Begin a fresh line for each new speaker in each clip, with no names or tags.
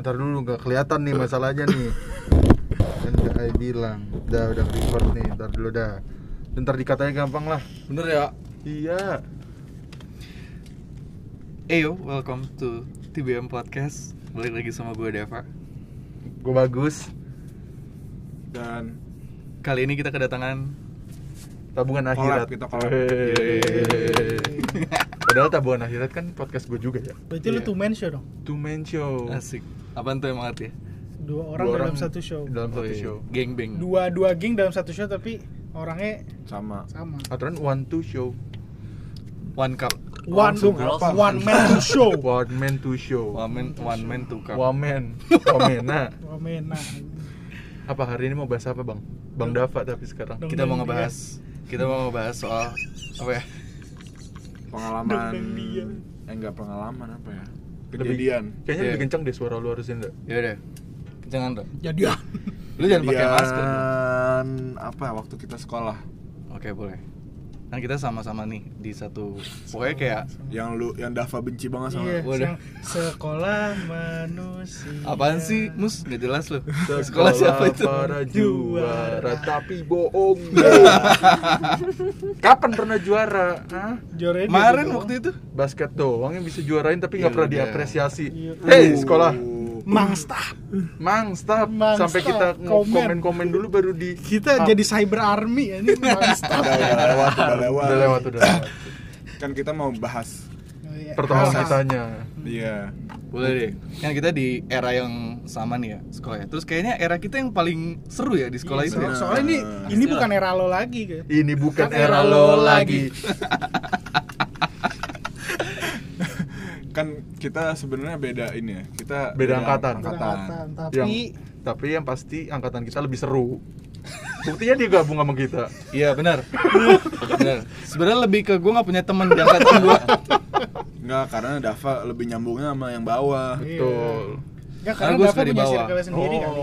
ntar dulu nggak kelihatan nih masalahnya nih kan udah ayah bilang udah udah record nih ntar dulu dah ntar dikatanya gampang lah
Bener ya?
iya
Eyo, welcome to TBM Podcast Balik lagi sama gue Deva
gue bagus
dan
Kali ini kita kedatangan
tabungan akhirat
Collab, kita collab.
Yeay. padahal tabungan akhirat kan podcast gue juga ya
Berarti lu
Iya.
two man show dong?
two man show
Asik Apaan tuh emang artinya?
Dua orang
Dua
dalam satu show.
dalam satu
Woi,
show
Geng beng
Dua dua geng dalam satu show tapi orangnya
sama
sama.
aturan one two show
One cup
One
Langsung apa?
one man two show.
one man two show
One man, one man two cup
one man wamena
Wah, mena.
apa hari ini mau bahas apa bang bang Dava tapi sekarang
Kita mau ngebahas Kita mau ngebahas soal Apa ya?
pengalaman
Dendeng dia.
eh enggak pengalaman apa ya
Lebih-
kejadian
kayaknya
Iya.
lebih kencang deh suara lu harusin deh
Yaudah Jangan dong
Jadi ya.
Lu jangan pakai
Iya.
masker dong.
Kejadian apa ya, waktu kita sekolah
Oke boleh Kan kita sama-sama nih di satu Pokoknya kayak
yang lu yang Dava benci banget sama
Iya,
lu.
Waduh.
yang sekolah manusia.
Apaan sih? Mus, gak jelas lu Sekolah siapa itu?
para juara
Juara.
tapi bohong. Kapan pernah juara? Hah?
Jorenya dia gitu.
Kemarin
doang.
waktu itu
Basket doang yang bisa juarain tapi nggak
Iya
pernah
udah.
diapresiasi.
Iya.
Hei sekolah,
Mangsta.
mang stop.
Mang,
Sampai
stop.
kita
Komen.
komen-komen dulu baru di
Kita
Ah,
jadi cyber army ya, ini mangsta.
udah, udah lewat udah lewat
udah lewat udah lewat.
kan kita mau bahas
Oh, iya.
Pertolongan
Hal-hal.
kitanya.
iya
Boleh deh. Kan kita di era yang sama nih ya sekolah. ya. Terus kayaknya era kita yang paling seru ya di sekolah
Iya,
itu.
so-
ya. Iya,
Soalnya ini ini bukan era lo lagi kan.
Ini bukan
Kan
era lo lagi.
kan kita sebenarnya beda ini ya kita
Beda angkatan.
angkatan.
Iya.
Tapi
Yang- tapi yang pasti angkatan kita lebih seru. Buktinya dia gabung sama kita.
Iya benar. benar. Sebenarnya lebih ke gue nggak punya teman di angkatan gue.
Enggak, karena Dava lebih nyambungnya sama yang bawah
Iya.
Betul.
Enggak
Karena
karena
gua
Dava
suka di
punya
bawah.
circle sendiri
Oh.
kali.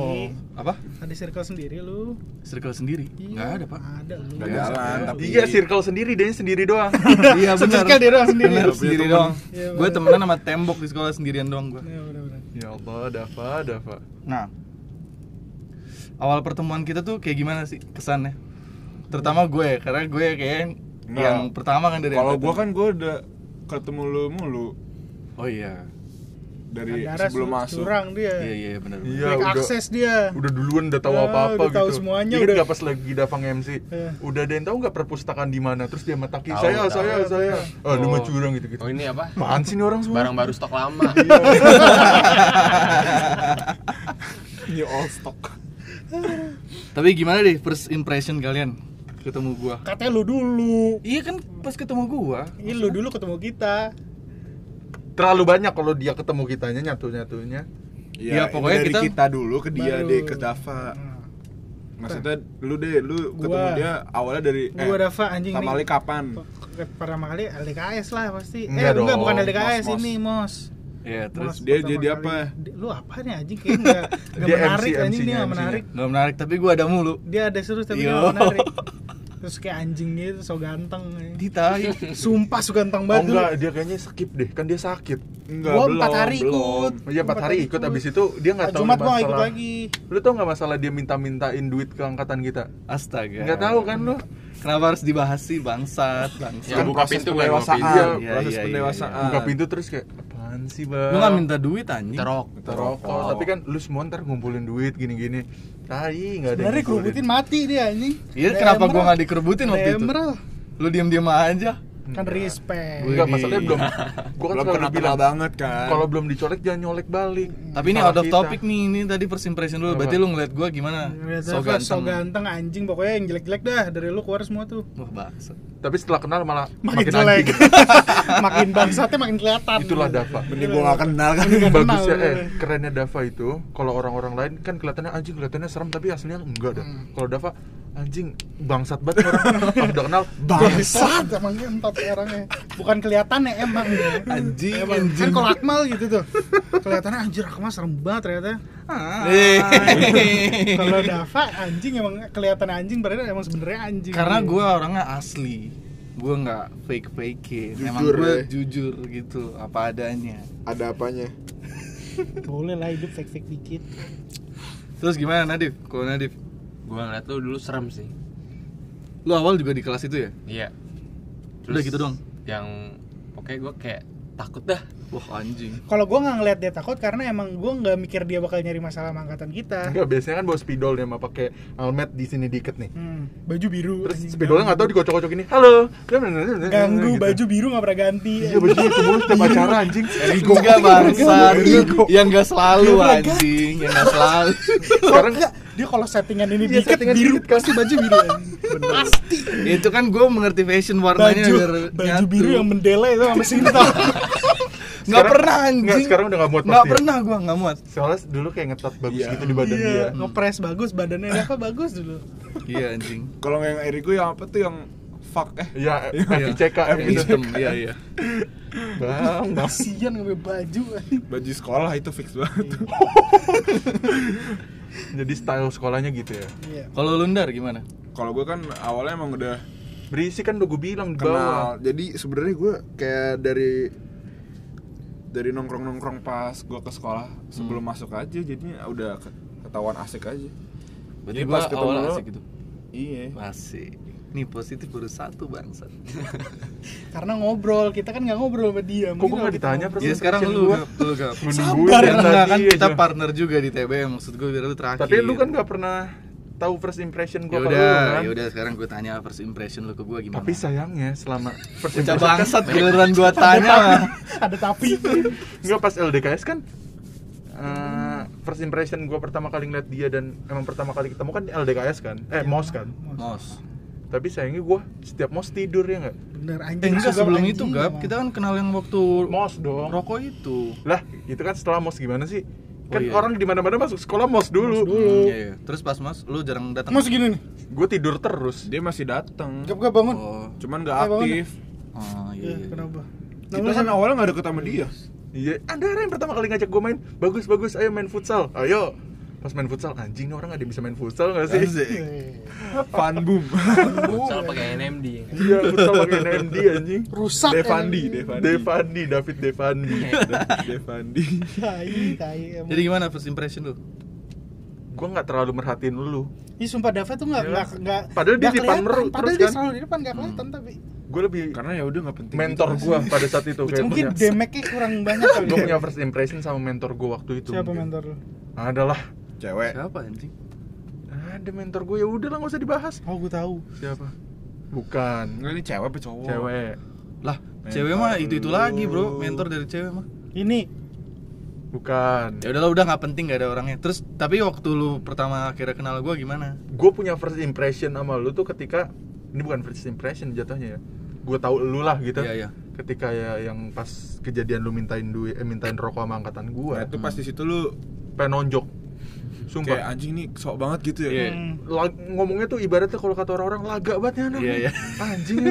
Apa?
Ada circle sendiri lu.
Circle sendiri?
Iya.
Nggak ada pak.
Ada lu.
Nggak
Iya,
jalan,
iya.
tapi
Dia circle sendiri, dia sendiri doang.
Iya benar.
Circle dia doang sendiri.
Benar
Nggak punya
sendiri
teman.
doang.
Iya,
Gue
benar.
temenan sama tembok di sekolah sendirian doang gue.
Ya, bener-bener.
ya Allah, Dava, Dava.
Nah, awal pertemuan kita tuh kayak gimana sih kesannya? Terutama gue, karena gue kayak yang,
Nggak.
yang pertama kan dari
kalau
angkatan.
gua kan gua udah ketemu lu mulu
Oh iya,
dari
Andara
sebelum
su-
masuk
curang dia.
iya iya benar.
Iya.
Naik
udah-
akses dia.
udah duluan udah tahu
Ah,
apa-apa
udah
gitu.
tahu semuanya,
Jadi
udah.
nggak pas lagi Davang MC.
Iya.
Udah ada yang tahu nggak perpustakaan di mana? Terus dia mataki
Tahu,
saya,
tahu.
saya, saya. Ah, lu mah curang gitu gitu.
Oh ini apa?
Apaan sih ini orang semua?
Barang baru stok lama.
new all stock
Tapi gimana deh first impression kalian ketemu gua?
Katanya lu dulu.
Iya kan pas ketemu gua.
Ini lu dulu ketemu kita.
Terlalu banyak kalau dia ketemu kitanya nyatu-nyatunya.
Ya,
Iya,
pokoknya
pokoknya dari
kita-
kita, dulu ke dia
Baru.
deh ke Dava.
Nah,
Maksudnya lu deh, lu
Gua.
ketemu dia awalnya dari
Gua Dava anjing
pertama kali
nih.
kapan?
Pe- Pertama kali LDKS lah pasti.
Enggak
eh enggak
dong,
bukan LDKS
mos-mos.
ini, Mos.
Iya terus
Mos
dia
pertama
jadi
kali.
apa?
Di- Lu apa nih anjing kayaknya enggak enggak
Dia MC,
menarik anjing
MC-nya,
dia enggak
MC-nya.
menarik.
nggak menarik tapi gua ada mulu.
Dia ada seru tapi
Yo.
dia nggak menarik. Terus kayak anjing gitu so ganteng.
Ditai.
Sumpah so
Oh
ganteng banget.
enggak, dia kayaknya skip deh, kan dia sakit.
Enggak,
Gua
belum.
empat hari
belum.
ikut.
Oh, Iya, empat
Empat
hari
hari
ikut
ikut.
habis itu dia nggak tahu
Jumat gua nggak ikut
masalah.
lagi.
Lu tau nggak masalah dia minta-mintain duit ke angkatan kita?
Astaga.
Nggak tahu kan lu?
Kenapa harus dibahas sih bangsat, bangsat.
Ya, buka
proses
pintu kan, buka
pendewasaan,
pintu. Iya,
iya,
proses
iya,
pendewasaan.
Buka pintu terus kayak apaan sih, Bang?
Lu nggak minta duit anjing.
Terok.
Minta rokok, tapi kan lu semua ntar ngumpulin duit gini-gini. Tai, nggak ada. yang
Sebenarnya
ngumpulin.
kerubutin mati dia anjing.
Iya kenapa gua nggak dikerebutin waktu itu?
Demer lah.
Lu diem-diem aja.
Kan
Iya.
respect.
Wih.
Enggak, masalahnya belum gua kan
belum
selalu
kenal kenal
bilang
banget kan.
kalau belum dicolek jangan nyolek balik.
Tapi ini
Salah
out of
kita.
topic nih, ini tadi first impression dulu. Berarti
Apa?
lu ngeliat gua gimana?
Ngeliat
So
apa, Iya, So
ganteng.
ganteng anjing pokoknya yang jelek-jelek dah dari lu keluar semua tuh.
Wah, bangsat.
Tapi setelah kenal malah
Makin,
makin,
jelek.
anjing.
makin bangsatnya makin kelihatan.
Itulah Dava.
Mending gua gak kenal kan.
Ini nggak
Bagusnya
kenal,
eh kerennya Dava itu kalau orang-orang lain kan kelihatannya anjing kelihatannya serem tapi aslinya enggak dah. Kalau Dava anjing bangsat banget orang. Pas udah kenal
Bangsat emang entot orangnya. Bukan kelihatannya emang.
Anjing,
Emang. Kan kalau Akmal gitu tuh. Kelihatannya anjir Akmal serem banget ternyata.
Hehehe.
Kalau Dava anjing emang kelihatan anjing berarti emang sebenarnya anjing.
karena gue orangnya asli gue nggak fake fakein emang
Jujur,
gue
ya.
jujur gitu apa adanya
Ada apanya?
Boleh lah hidup fake-fake dikit
Terus gimana Nadif? Kalau Nadif,
Gua ngeliat lu dulu serem sih.
lu awal juga di kelas itu ya?
Iya.
Udah gitu doang?
Yang pokoknya gua kayak takut dah.
Wah anjing.
Kalau gue nggak ngeliat dia takut karena emang gue nggak mikir dia bakal nyari masalah sama angkatan kita
Enggak, biasanya kan bawa spidol dia mah pakai helmet di sini dikit nih.
hmm, Baju biru
Terus
anjing.
spidolnya nggak tahu dikocok-kocok ini. Halo.
Ganggu,
Gitu.
baju biru nggak pernah ganti
Iya, baju itu mulu setiap acara anjing.
Enggak bangsa,
Ego.
yang enggak selalu
Gila,
anjing, yang enggak selalu.
Sekarang
Nggak, dia kalau settingan ini
Iya,
dikit
settingan
biru
dikit,
pasti baju biru anjing. Pasti
itu kan gue mengerti fashion warnanya
Baju,
biar
baju
nyatu.
biru yang mendele itu sama Sinta
nggak
Sekarang-
pernah anjing.
nggak, sekarang udah nggak muat
Nggak
pasti ya?
pernah gue nggak muat.
Soalnya dulu kayak ngetat bagus
Iya.
gitu di badan
Iya,
dia.
ngepres bagus, badannya apa bagus dulu
Iya anjing.
Kalau nggak yang Erigo yang apa tuh yang fuck eh
Iya, FICK
Yang
gitu.
hitam, iya iya.
Bang, bang.
Kasian ngambil baju anjing.
baju sekolah itu fix banget.
Hmm.
tuh.
Jadi style sekolahnya gitu ya.
Iya
Kalau lundar gimana?
Kalau gue kan awalnya emang udah
Berisi kan udah gue bilang di bawah.
kenal. Jadi sebenarnya gue kayak dari dari nongkrong nongkrong pas gue ke sekolah sebelum masuk aja jadinya udah ke- ketahuan asik aja.
Berarti
Jadi
gue
pas ketemu
awal
lo-
asik gitu.
Iya.
Masih. Nih positif baru satu bangsat.
Karena ngobrol, kita kan nggak ngobrol sama dia
Kok gue
Mungkin kalau
nggak ditanya
kita-
perasaan
Jadi sekarang
kecil
lu
gua.
gak, lu gak
Gua
Sabar.
nungguin dari
Karena
Enggak
tadi
kan kita
aja.
partner juga di TBM maksud gue biar lu terakhir.
Tapi lu kan nggak pernah tahu first impression gue
Iya. Ya
kalau
udah,
lu kan.
ya udah sekarang gue tanya first impression lu ke gue gimana?
Tapi sayangnya selama first
Bocah
impression
bangsat giliran gue tanya lah.
Ada tapi
Enggak pas LDKS kan eh, first impression gue pertama kali ngeliat dia dan emang pertama kali ketemu kan LDKS kan eh mos kan
Mos.
tapi sayangnya gue setiap mos tidur ya nggak
Bener anjing
Eh, enggak
sugar
sebelum
anjing
itu gap
emang.
kita kan kenal yang waktu
mos dong
rokok itu.
lah itu kan setelah mos gimana sih kan
iya.
orang di mana mana masuk sekolah mos dulu,
Iya, iya. Terus pas mas, lu jarang datang.
Mau segini nih
gue tidur terus
Dia masih datang.
Gap gap bangun
Oh,
Cuman nggak
Eh, bangun.
aktif.
oh iya.
Iya,
iya.
kenapa? Nah,
Kita kan awalnya nggak deket sama dia.
iya ada orang yang pertama kali ngajak gue main bagus bagus ayo main futsal ayo pas main futsal anjing nih orang ada yang bisa main futsal nggak sih
Iya,
Fan boom.
Futsal pakai NMD.
iya futsal pakai NMD anjing
Rusak
Devandi,
anjing.
Devandi.
Devandi David Devandi
Devandi.
Tai, Iya, tai emang.
Jadi gimana first impression lu?
gue nggak terlalu merhatiin lu
Ih sumpah Dava tuh nggak
Iya.
nggak nggak.
Padahal dia
nggak
di depan
kelihatan.
meru
Padahal
terus
dia
kan?
selalu di depan nggak kelihatan tapi.
gue lebih
Karena ya udah nggak penting.
mentor
gitu.
gue pada saat itu kayak
Mungkin
punya
demeknya kurang banyak kali. ya.
gue punya first impression sama mentor gue waktu itu
Siapa mentor lu?
adalah
Cewek.
Siapa anjing?
ada mentor gue ya udahlah nggak usah dibahas
Oh gue tahu.
siapa bukan
Enggak ini cewek apa cowok?
cewek
Lah, cewek mah itu itu lagi, Bro. Mentor dari cewek mah.
Ini
bukan
Ya udahlah, udah nggak penting nggak ada orangnya. Terus tapi waktu lu pertama akhirnya kenal gua gimana?
gue punya first impression sama lu tuh ketika ini bukan first impression jatuhnya ya gue tahu lu lah gitu
Iya, iya.
ketika ya yang pas kejadian lu mintain duit eh, mintain rokok sama angkatan
Nah,
gue
itu pas di situ lu
penonjok
kayak
sumpah
anjing nih sok banget gitu ya.
Iya.
hmm,
La- ngomongnya tuh ibaratnya kalau kata orang-orang laga banget ya anak
Iya, iya.
anjing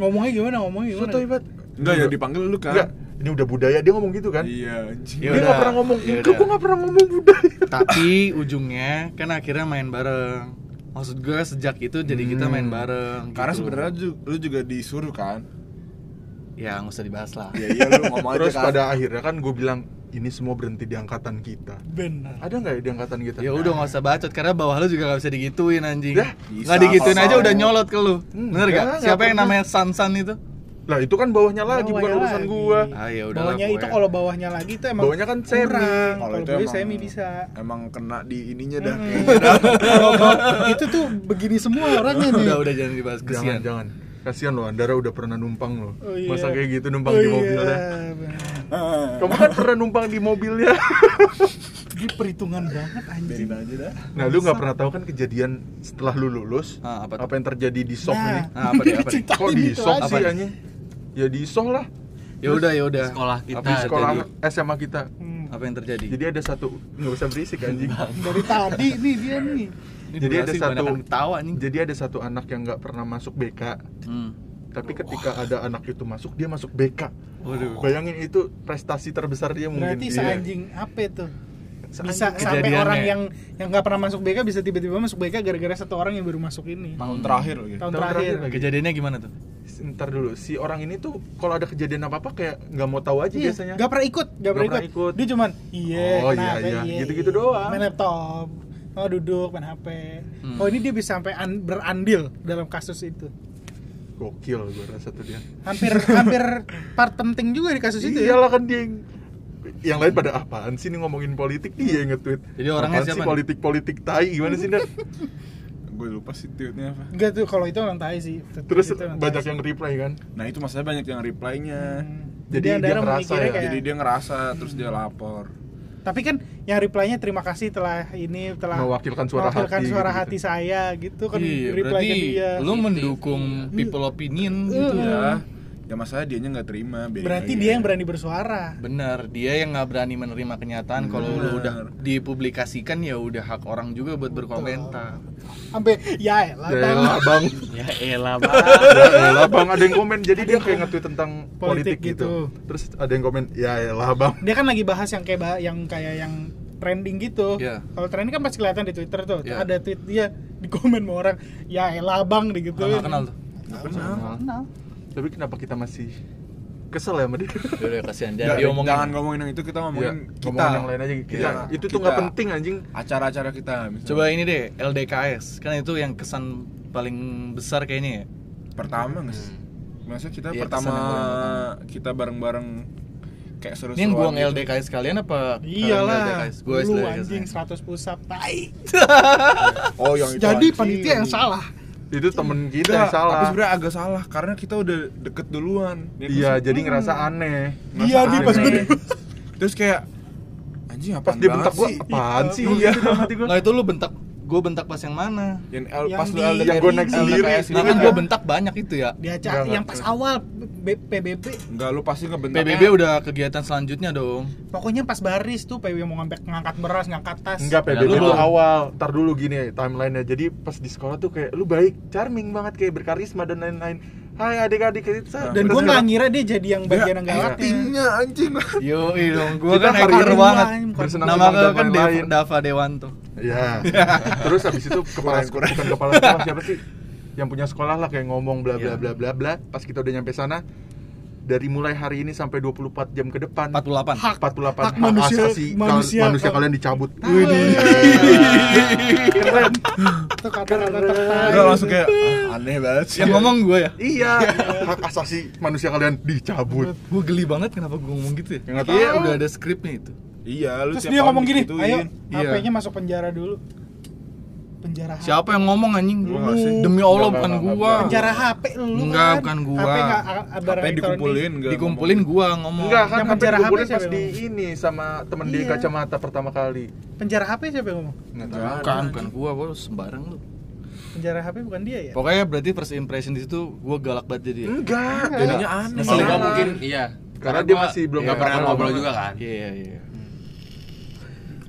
ngomongnya gimana ngomongnya
ya.
gimana?
sotoy banget
Enggak ya dipanggil lu kan.
Iya. Enggak, ini udah budaya dia ngomong gitu kan
Iya, anjing.
Ya
dia
udah,
nggak pernah ngomong
ya
enggak
udah.
gue nggak pernah ngomong budaya
tapi ujungnya kan akhirnya main bareng. Maksud gue sejak itu jadi kita main bareng.
Karena
gitu.
sebenarnya ju- lu juga disuruh kan.
ya nggak usah dibahas lah.
Ya iya lu ngomong aja
terus
kan.
pada akhirnya kan gue bilang ini semua berhenti di angkatan kita
Benar.
ada nggak ya di angkatan kita
Ya udah nggak usah bacot karena bawah lu juga nggak bisa digituin anjing.
Dah,
bisa,
Nggak digituin
kalau
aja
mau.
udah nyolot ke lu.
Hmm,
Bener
enggak,
gak?
nggak
Siapa yang
pernah.
namanya Sansan itu?
lah itu kan bawahnya lagi
Bawahnya
bukan urusan
lagi.
gua
Ah ya udah.
Bawahnya itu kalau bawahnya lagi tuh emang.
bawahnya kan semi
kurang.
Kalau
Kalau
itu
gue
emang-
semi bisa.
Emang kena di ininya dah.
Kalau bawah- itu tuh begini semua orangnya nih.
udah udah jangan dibahas
jangan
kesian.
jangan kasihan loh Andara udah pernah numpang loh
Oh, iya.
masa kayak gitu numpang
Oh,
di
iya,
mobilnya
benar.
kamu kan pernah numpang di mobilnya
Dia perhitungan banget anjing.
Biarin aja dah.
nah lu nggak pernah tahu kan kejadian setelah lu lulus
Ah, apa tuh?
apa, yang terjadi di soft
Nah.
ini Ah,
Nah, apa deh, apa deh?
Ceritain
kok di
itu
soft
aja.
sih
Apa?
anjing ya di soft lah
Ya udah ya udah.
Sekolah kita
Apa,
di
yang
sekolah
terjadi?
SMA kita
Hmm.
apa yang terjadi?
jadi ada satu nggak usah berisik anjing
Dari tadi nih dia nih.
Ini
jadi ada
durasi
satu
kebanyakan ketawa nih.
jadi ada satu anak yang nggak pernah masuk BK
Hmm.
tapi ketika ada anak itu masuk dia masuk BK
Waduh.
bayangin itu prestasi terbesar dia mungkin
Berarti
Iya.
seanjing apa itu?
Seanjing
Bisa sampai
kejadiannya.
orang yang yang nggak pernah masuk BK bisa tiba-tiba masuk BK gara-gara satu orang yang baru masuk ini.
Tahun terakhir ya? lagi.
Tahun
Tahun terakhir
terakhir.
lagi.
Kejadiannya gimana tuh?
ntar dulu si orang ini tuh kalau ada kejadian apa apa kayak nggak mau tahu aja
Iya,
biasanya
Gak pernah ikut, gak pernah ikut. Dia cuman, iya,
Oh,
kenapa,
iya, iya. Gitu-gitu doang. Hmm.
Main laptop, oh duduk, main HP. Oh ini dia bisa sampai an- berandil dalam kasus itu.
gokil gue rasa tuh dia
Hampir hampir part penting juga di kasus itu ya.
iyalah kan dia yang yang lain pada apaan sih nih ngomongin politik dia yang nge-tweet
Jadi orangnya
Apaan sih
siapa?
politik-politik tai gimana sih Dan?
Hmm. gue lupa sih tweetnya apa
Enggak tuh kalau itu orang tai sih.
terus
Itu orang
banyak
tai
yang
sih.
reply kan
nah itu masalahnya banyak yang reply-nya
Hmm.
Jadi
Dia-
dia
dia
ngerasa
memikirnya
ya.
kayak-
jadi dia ngerasa terus dia lapor
Tapi kan yang reply-nya terima kasih telah ini telah
Mewakilkan suara hati,
mewakilkan suara
gitu-gitu.
hati saya gitu kan
Iya,
reply
berarti
ke dia. Mm.
lu
Gitu.
mendukung people opinion gitu
ya ya masalah dianya nggak terima beda
Hmm.
ya.
Berarti dia yang berani bersuara.
Bener, dia yang nggak berani menerima kenyataan kalau lu udah dipublikasikan ya udah hak orang juga buat berkomentar.
Sampai ya elah,
ya
Bang.
elah bang
ya elah bang
ya elah bang ada yang komen jadi dia kayak nge-tweet tentang politik,
Politik
gitu. terus ada yang komen ya elah bang
dia kan lagi bahas yang kayak bah- yang kayak yang trending gitu.
Iya.
Kalau trending kan pasti kelihatan di Twitter tuh.
Iya.
Ada tweet dia di komen sama orang, ya elah bang gitu.
Orang nggak kenal tuh.
tapi kenapa kita masih kesel ya sama dia
Yaudah kasihan
Jangan-
jangan diomongin.
jangan ngomongin yang itu kita ngomongin
Ya,
kita
ngomongin yang lain aja gitu
Kita.
itu tuh nggak
Kita.
penting anjing
acara-acara kita misalnya.
Coba ini deh LDKS, kan itu yang kesan paling besar kayaknya ya.
pertama nggak sih
Hmm.
maksudnya kita
Iya,
pertama
kesan yang paling
kita bareng-bareng kayak gitu. seru
Ini yang buang LDKS kalian apa?
Iyalah,
Gue
Iya lu anjing 100 pusat, tai.
oh yang itu
Jadi
anjing.
panitia yang salah.
itu temen kita yang
Nggak,
salah
tapi sebenarnya agak salah karena kita udah deket duluan Ya,
iya
terus-
jadi ngerasa
Hmm.
aneh
ngerasa
Iya, di pas
aneh.
gua-
terus kayak anjing apa
pas dia bentak gua apaan sih iya hati gua
Nah itu lu bentak, gue bentak pas yang mana?
yang, L,
Yang
pas lu
di-
LDKS
yang gua naik
LDKS
sendiri.
itu
Nah
Iya.
kan
kan-
gue bentak banyak itu ya.
Dia acara
Enggak,
yang pas awal B- PBB.
Enggak, lu pasti ngebentak Iya.
ya.
PBB udah kegiatan selanjutnya dong.
Pokoknya pas baris tuh PBB mau ngangkat ngangkat beras, ngangkat tas.
Enggak,
Nah,
PBB itu
lu belum-
awal. Ntar dulu gini timelinenya. Jadi pas di sekolah tuh kayak lu baik, charming banget kayak berkarisma dan lain-lain. Hai adik-adik kita. Terus
Dan gua nggak
sekarang
ngira dia jadi yang bagian yang
gitu.
galak.
actingnya anjing
Yo, dong, gue
Kita
kan
hari
actor
ini
banget.
mulai,
bersenang
Nama
senang
gue
dan
kan Dev-
lain-lain.
Dava Dewanto.
Iya. Terus habis itu kepala sekolah, bukan kepala sekolah siapa sih? Yang punya sekolah lah kayak ngomong bla bla
Iya.
bla bla bla. Pas kita udah nyampe sana, dari mulai hari ini sampai 24 jam ke depan
48
Hak,
48
hak manusia,
asasi kal-
manusia.
manusia kalian dicabut.
keren. Itu kata-kata tertai.
udah langsung kayak "Ah, aneh banget sih
Yang ngomong gue ya
Iya, hak asasi manusia kalian dicabut.
Gue geli banget kenapa gue ngomong gitu ya
Ya, nggak
Kayaknya
tahu.
udah ada skripnya itu
iya lu
Terus
tiap
dia
tahun
ngomong gini,
digituin.
ayo
Iya.
HP-nya masuk penjara dulu. Penjara HP.
Siapa yang ngomong anjing?
Gua nggak sih.
Demi Allah
Nggak,
bukan
nggak, nggak,
gua
nggak.
Penjara HP lu
Enggak,
kan.
bukan gua.
HP enggak barang
HP dikumpulin
elektronik.
enggak
Dikumpulin gua ngomong
Enggak kan
Yang
sampai
penjara
dikumpulin
habis
pas
siapa
di
yang
ini sama temen di
Iya.
kacamata pertama kali.
Penjara HP siapa yang ngomong?
Nggak tahu.
Jangan.
Bukan, bukan gua, gua sembarang lu
Penjara HP bukan dia ya?
Pokoknya berarti first impression di situ gua galak banget jadi ya
Enggak,
jadinya aneh
kalau gua
Salah.
mungkin iya
Karena dia
gua
masih belum
nggak pernah
apa-apa.
ngobrol juga kan
Iya, iya, iya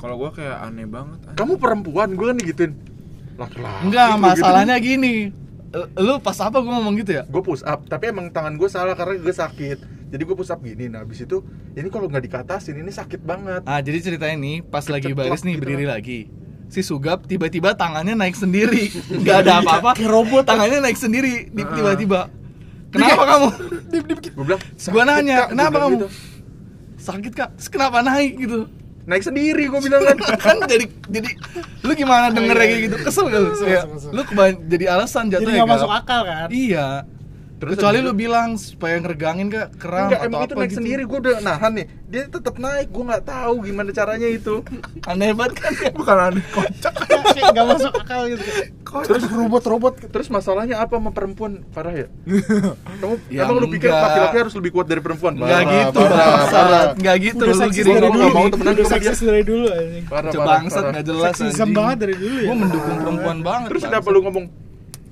kalau gua kayak aneh banget anjing.
Kamu perempuan, gue kan digituin. Laki-laki. gitu.
Enggak, masalahnya gini Lu pas apa gua ngomong gitu ya?
gue push up tapi emang tangan gue salah karena gue sakit jadi gue push up gini nah habis itu ini kalau nggak dikatasin ini sakit banget
Ah, jadi ceritanya nih, pas lagi
Keceplok
baris nih
gitu
berdiri
kan.
lagi. Si Sugap tiba-tiba tangannya naik sendiri. Enggak ada apa-apa. Kayak robot tangannya naik sendiri di-
Ah.
tiba-tiba. Kenapa kamu?
gue bilang
Gua
"Sakit, Kak."
nanya,
Gua
"Kenapa
bilang
kamu?"
gitu.
Sakit, Kak. Terus Kenapa naik gitu?
naik sendiri gue bilang kan
kan jadi jadi lu gimana
Oh,
denger
iya,
kayak gitu kesel gak lu
Kesel,
Kayak,
kesel, kesel.
lu keba- jadi alasan
Jadi
jatuhnya
enggak
Kak.
masuk akal kan?
iya
Terus
kecuali
habis
lu
itu-
bilang supaya ngergangin kak kram
Enggak,
atau
emang
apa
itu naik
gitu.
sendiri gue udah nahan nih dia tetap naik gue nggak tahu gimana caranya itu
aneh banget kan ya
bukan aneh kocak
Kayak enggak masuk akal gitu.
terus robot-robot terus masalahnya apa sama perempuan parah ya kamu
Ya,
emang lu pikir
enggak.
laki-aki harus lebih kuat dari perempuan
nggak
Parah,
gitu
parah, parah.
bangsat nggak gitu
Udah
lu
seksis
gini
gua
dari
nggak
dulu.
mau temenan
Udah
sama dia.
seksis dari dulu anjing.
Parah,
Coba
parah,
bangsat
parah.
nggak jelas
Seksisem banget dari dulu ya.
Gua mendukung perempuan banget
terus
Bang.
kenapa lu ngomong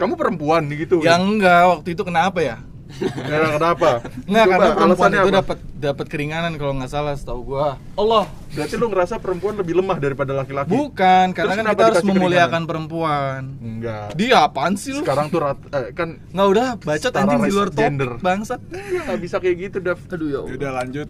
kamu perempuan gitu
ya enggak waktu itu kenapa ya
Ya, kenapa
enggak
Coba,
karena perempuan
alasannya
itu
apa?
dapat dapat keringanan kalau nggak salah setahu gua Allah
Berarti lu ngerasa perempuan lebih lemah daripada laki-laki?
bukan karena
Terus
kan
kenapa
kita harus
dikasih
memuliakan perempuan
Enggak.
dia apaan sih lu
Sekarang tuh rat, eh, kan
nggak udah bacot
Setara
anjing di luar
res- gender.
topik bangsat
nggak bisa kayak gitu, Dav.
aduh ya Allah.
udah lanjut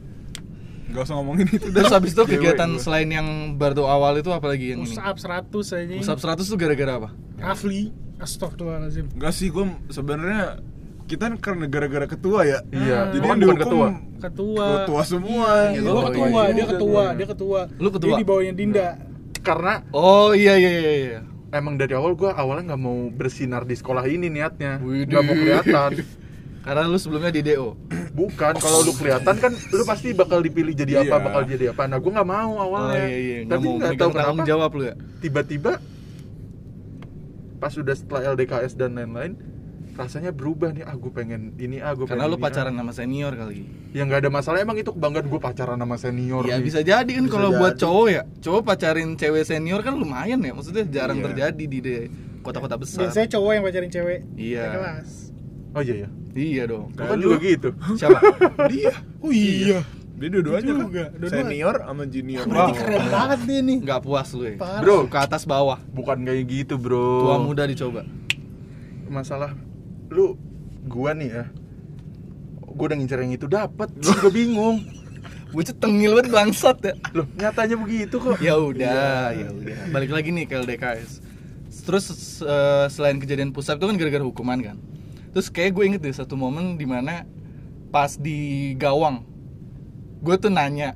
nggak usah ngomongin itu
terus habis itu kegiatan
Cewek gua.
selain yang baru awal itu apalagi yang ini
Musab 100 anjing.
usap 100 tuh gara-gara apa
Afli. Astagfirullahalazim.
Enggak sih, gue sebenarnya kita kan karena gara-gara ketua ya
Iya,
jadi
gua kan bukan
yang dihukum
ketua.
ketua
ketua semua
Iya,
gitu.
gua
Oh,
ketua,
iya.
dia ketua, dia ketua.
Lu ketua?
Dia di bawahnya Dinda.
Karena
Oh iya iya iya. iya.
emang dari awal gua awalnya nggak mau bersinar di sekolah ini niatnya,
Widih.
nggak mau kelihatan.
Karena lu sebelumnya di DO.
Bukan, kalau lu kelihatan kan lu pasti bakal dipilih jadi apa,
Iya.
bakal jadi apa. Nah, gua nggak mau
Oh
awalnya.
iya iya. Nggak
Tapi
mau
nggak
megang
tahu
tanggung
kenapa
jawab lu ya.
tiba-tiba pas udah setelah LDKS dan lain-lain rasanya berubah nih ah gue pengen ini ah gue
Karena
pengen
lu
ini,
pacaran sama senior kali.
ah. ya nggak ada masalah emang itu kebanggaan gue pacaran sama senior
Ya
nih.
bisa jadi kan
Bisa
kalau buat
jadi.
cowok ya. Cowok pacarin cewek senior kan lumayan ya. Maksudnya jarang
Iya.
terjadi di de- kota-kota besar.
Biasanya cowok yang pacarin cewek.
Iya.
naik Kelas.
oh iya ya
Iya dong.
kan juga gitu
Siapa?
dia
Oh iya.
dia dua-duanya kan
Juga, dua-duanya. Ah,
senior sama junior
Berarti
Wow.
keren banget dia nih.
Nggak puas lu ya.
Parah.
Bro.
Ke atas bawah.
bukan kayak gitu bro
Tua muda dicoba.
masalah lu gua nih ya gue udah ngincer yang itu dapat gue juga bingung
Bucet tengil banget bangsat ya.
loh nyatanya begitu kok Iya.
ya udah ya udah balik lagi nih ke LDKS terus s- eh, selain kejadian pusat itu kan gara-gara hukuman kan terus kayak gue inget deh satu momen dimana pas di gawang gue tuh nanya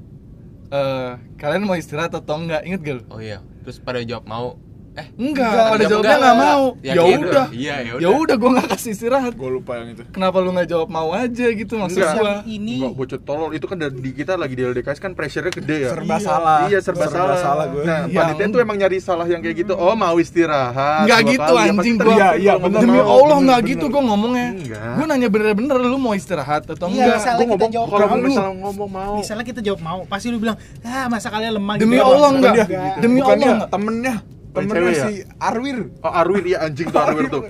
eh kalian mau istirahat atau enggak inget gak lu?
Oh iya, terus pada jawab mau. Eh,
enggak
Enggak,
pada
enggak,
jawabnya
enggak,
nggak mau
enggak.
ya
Yakin?
udah
Iya, ya
ya
udah.
udah gue nggak kasih istirahat
gue lupa yang itu
kenapa lu nggak jawab mau aja gitu maksud
Enggak.
gue
Ini.
Enggak, bocot tolol itu kan dari kita lagi di LDKS kan pressure-nya gede ya.
Serba salah.
Iya, serba,
Serba
salah.
salah gue.
Nah,
Yang-
panitia tuh emang nyari salah yang kayak gitu. Oh, mau istirahat.
Nggak
dua
gitu,
kali. Ya, pasti
anjing,
kan
gua-
iya, iya, bener.
demi
Bener,
Allah
bener,
nggak
bener.
gitu gue ngomongnya
Enggak.
gue nanya bener-bener lu mau istirahat atau
Iya,
enggak
salah.
Gue
kita
ngomong
jawab.
kalau
Bukan lu.
misalnya ngomong mau.
Misalnya kita jawab mau, pasti lu bilang, "Ah, masa kalian lemah
Demi
gitu."
Allah
Enggak,
enggak.
enggak.
Demi
bukan
Allah
dia
enggak.
temennya temennya
cewek ya?
si Arwir
Oh, Arwin ya anjing tuh Arwin tuh.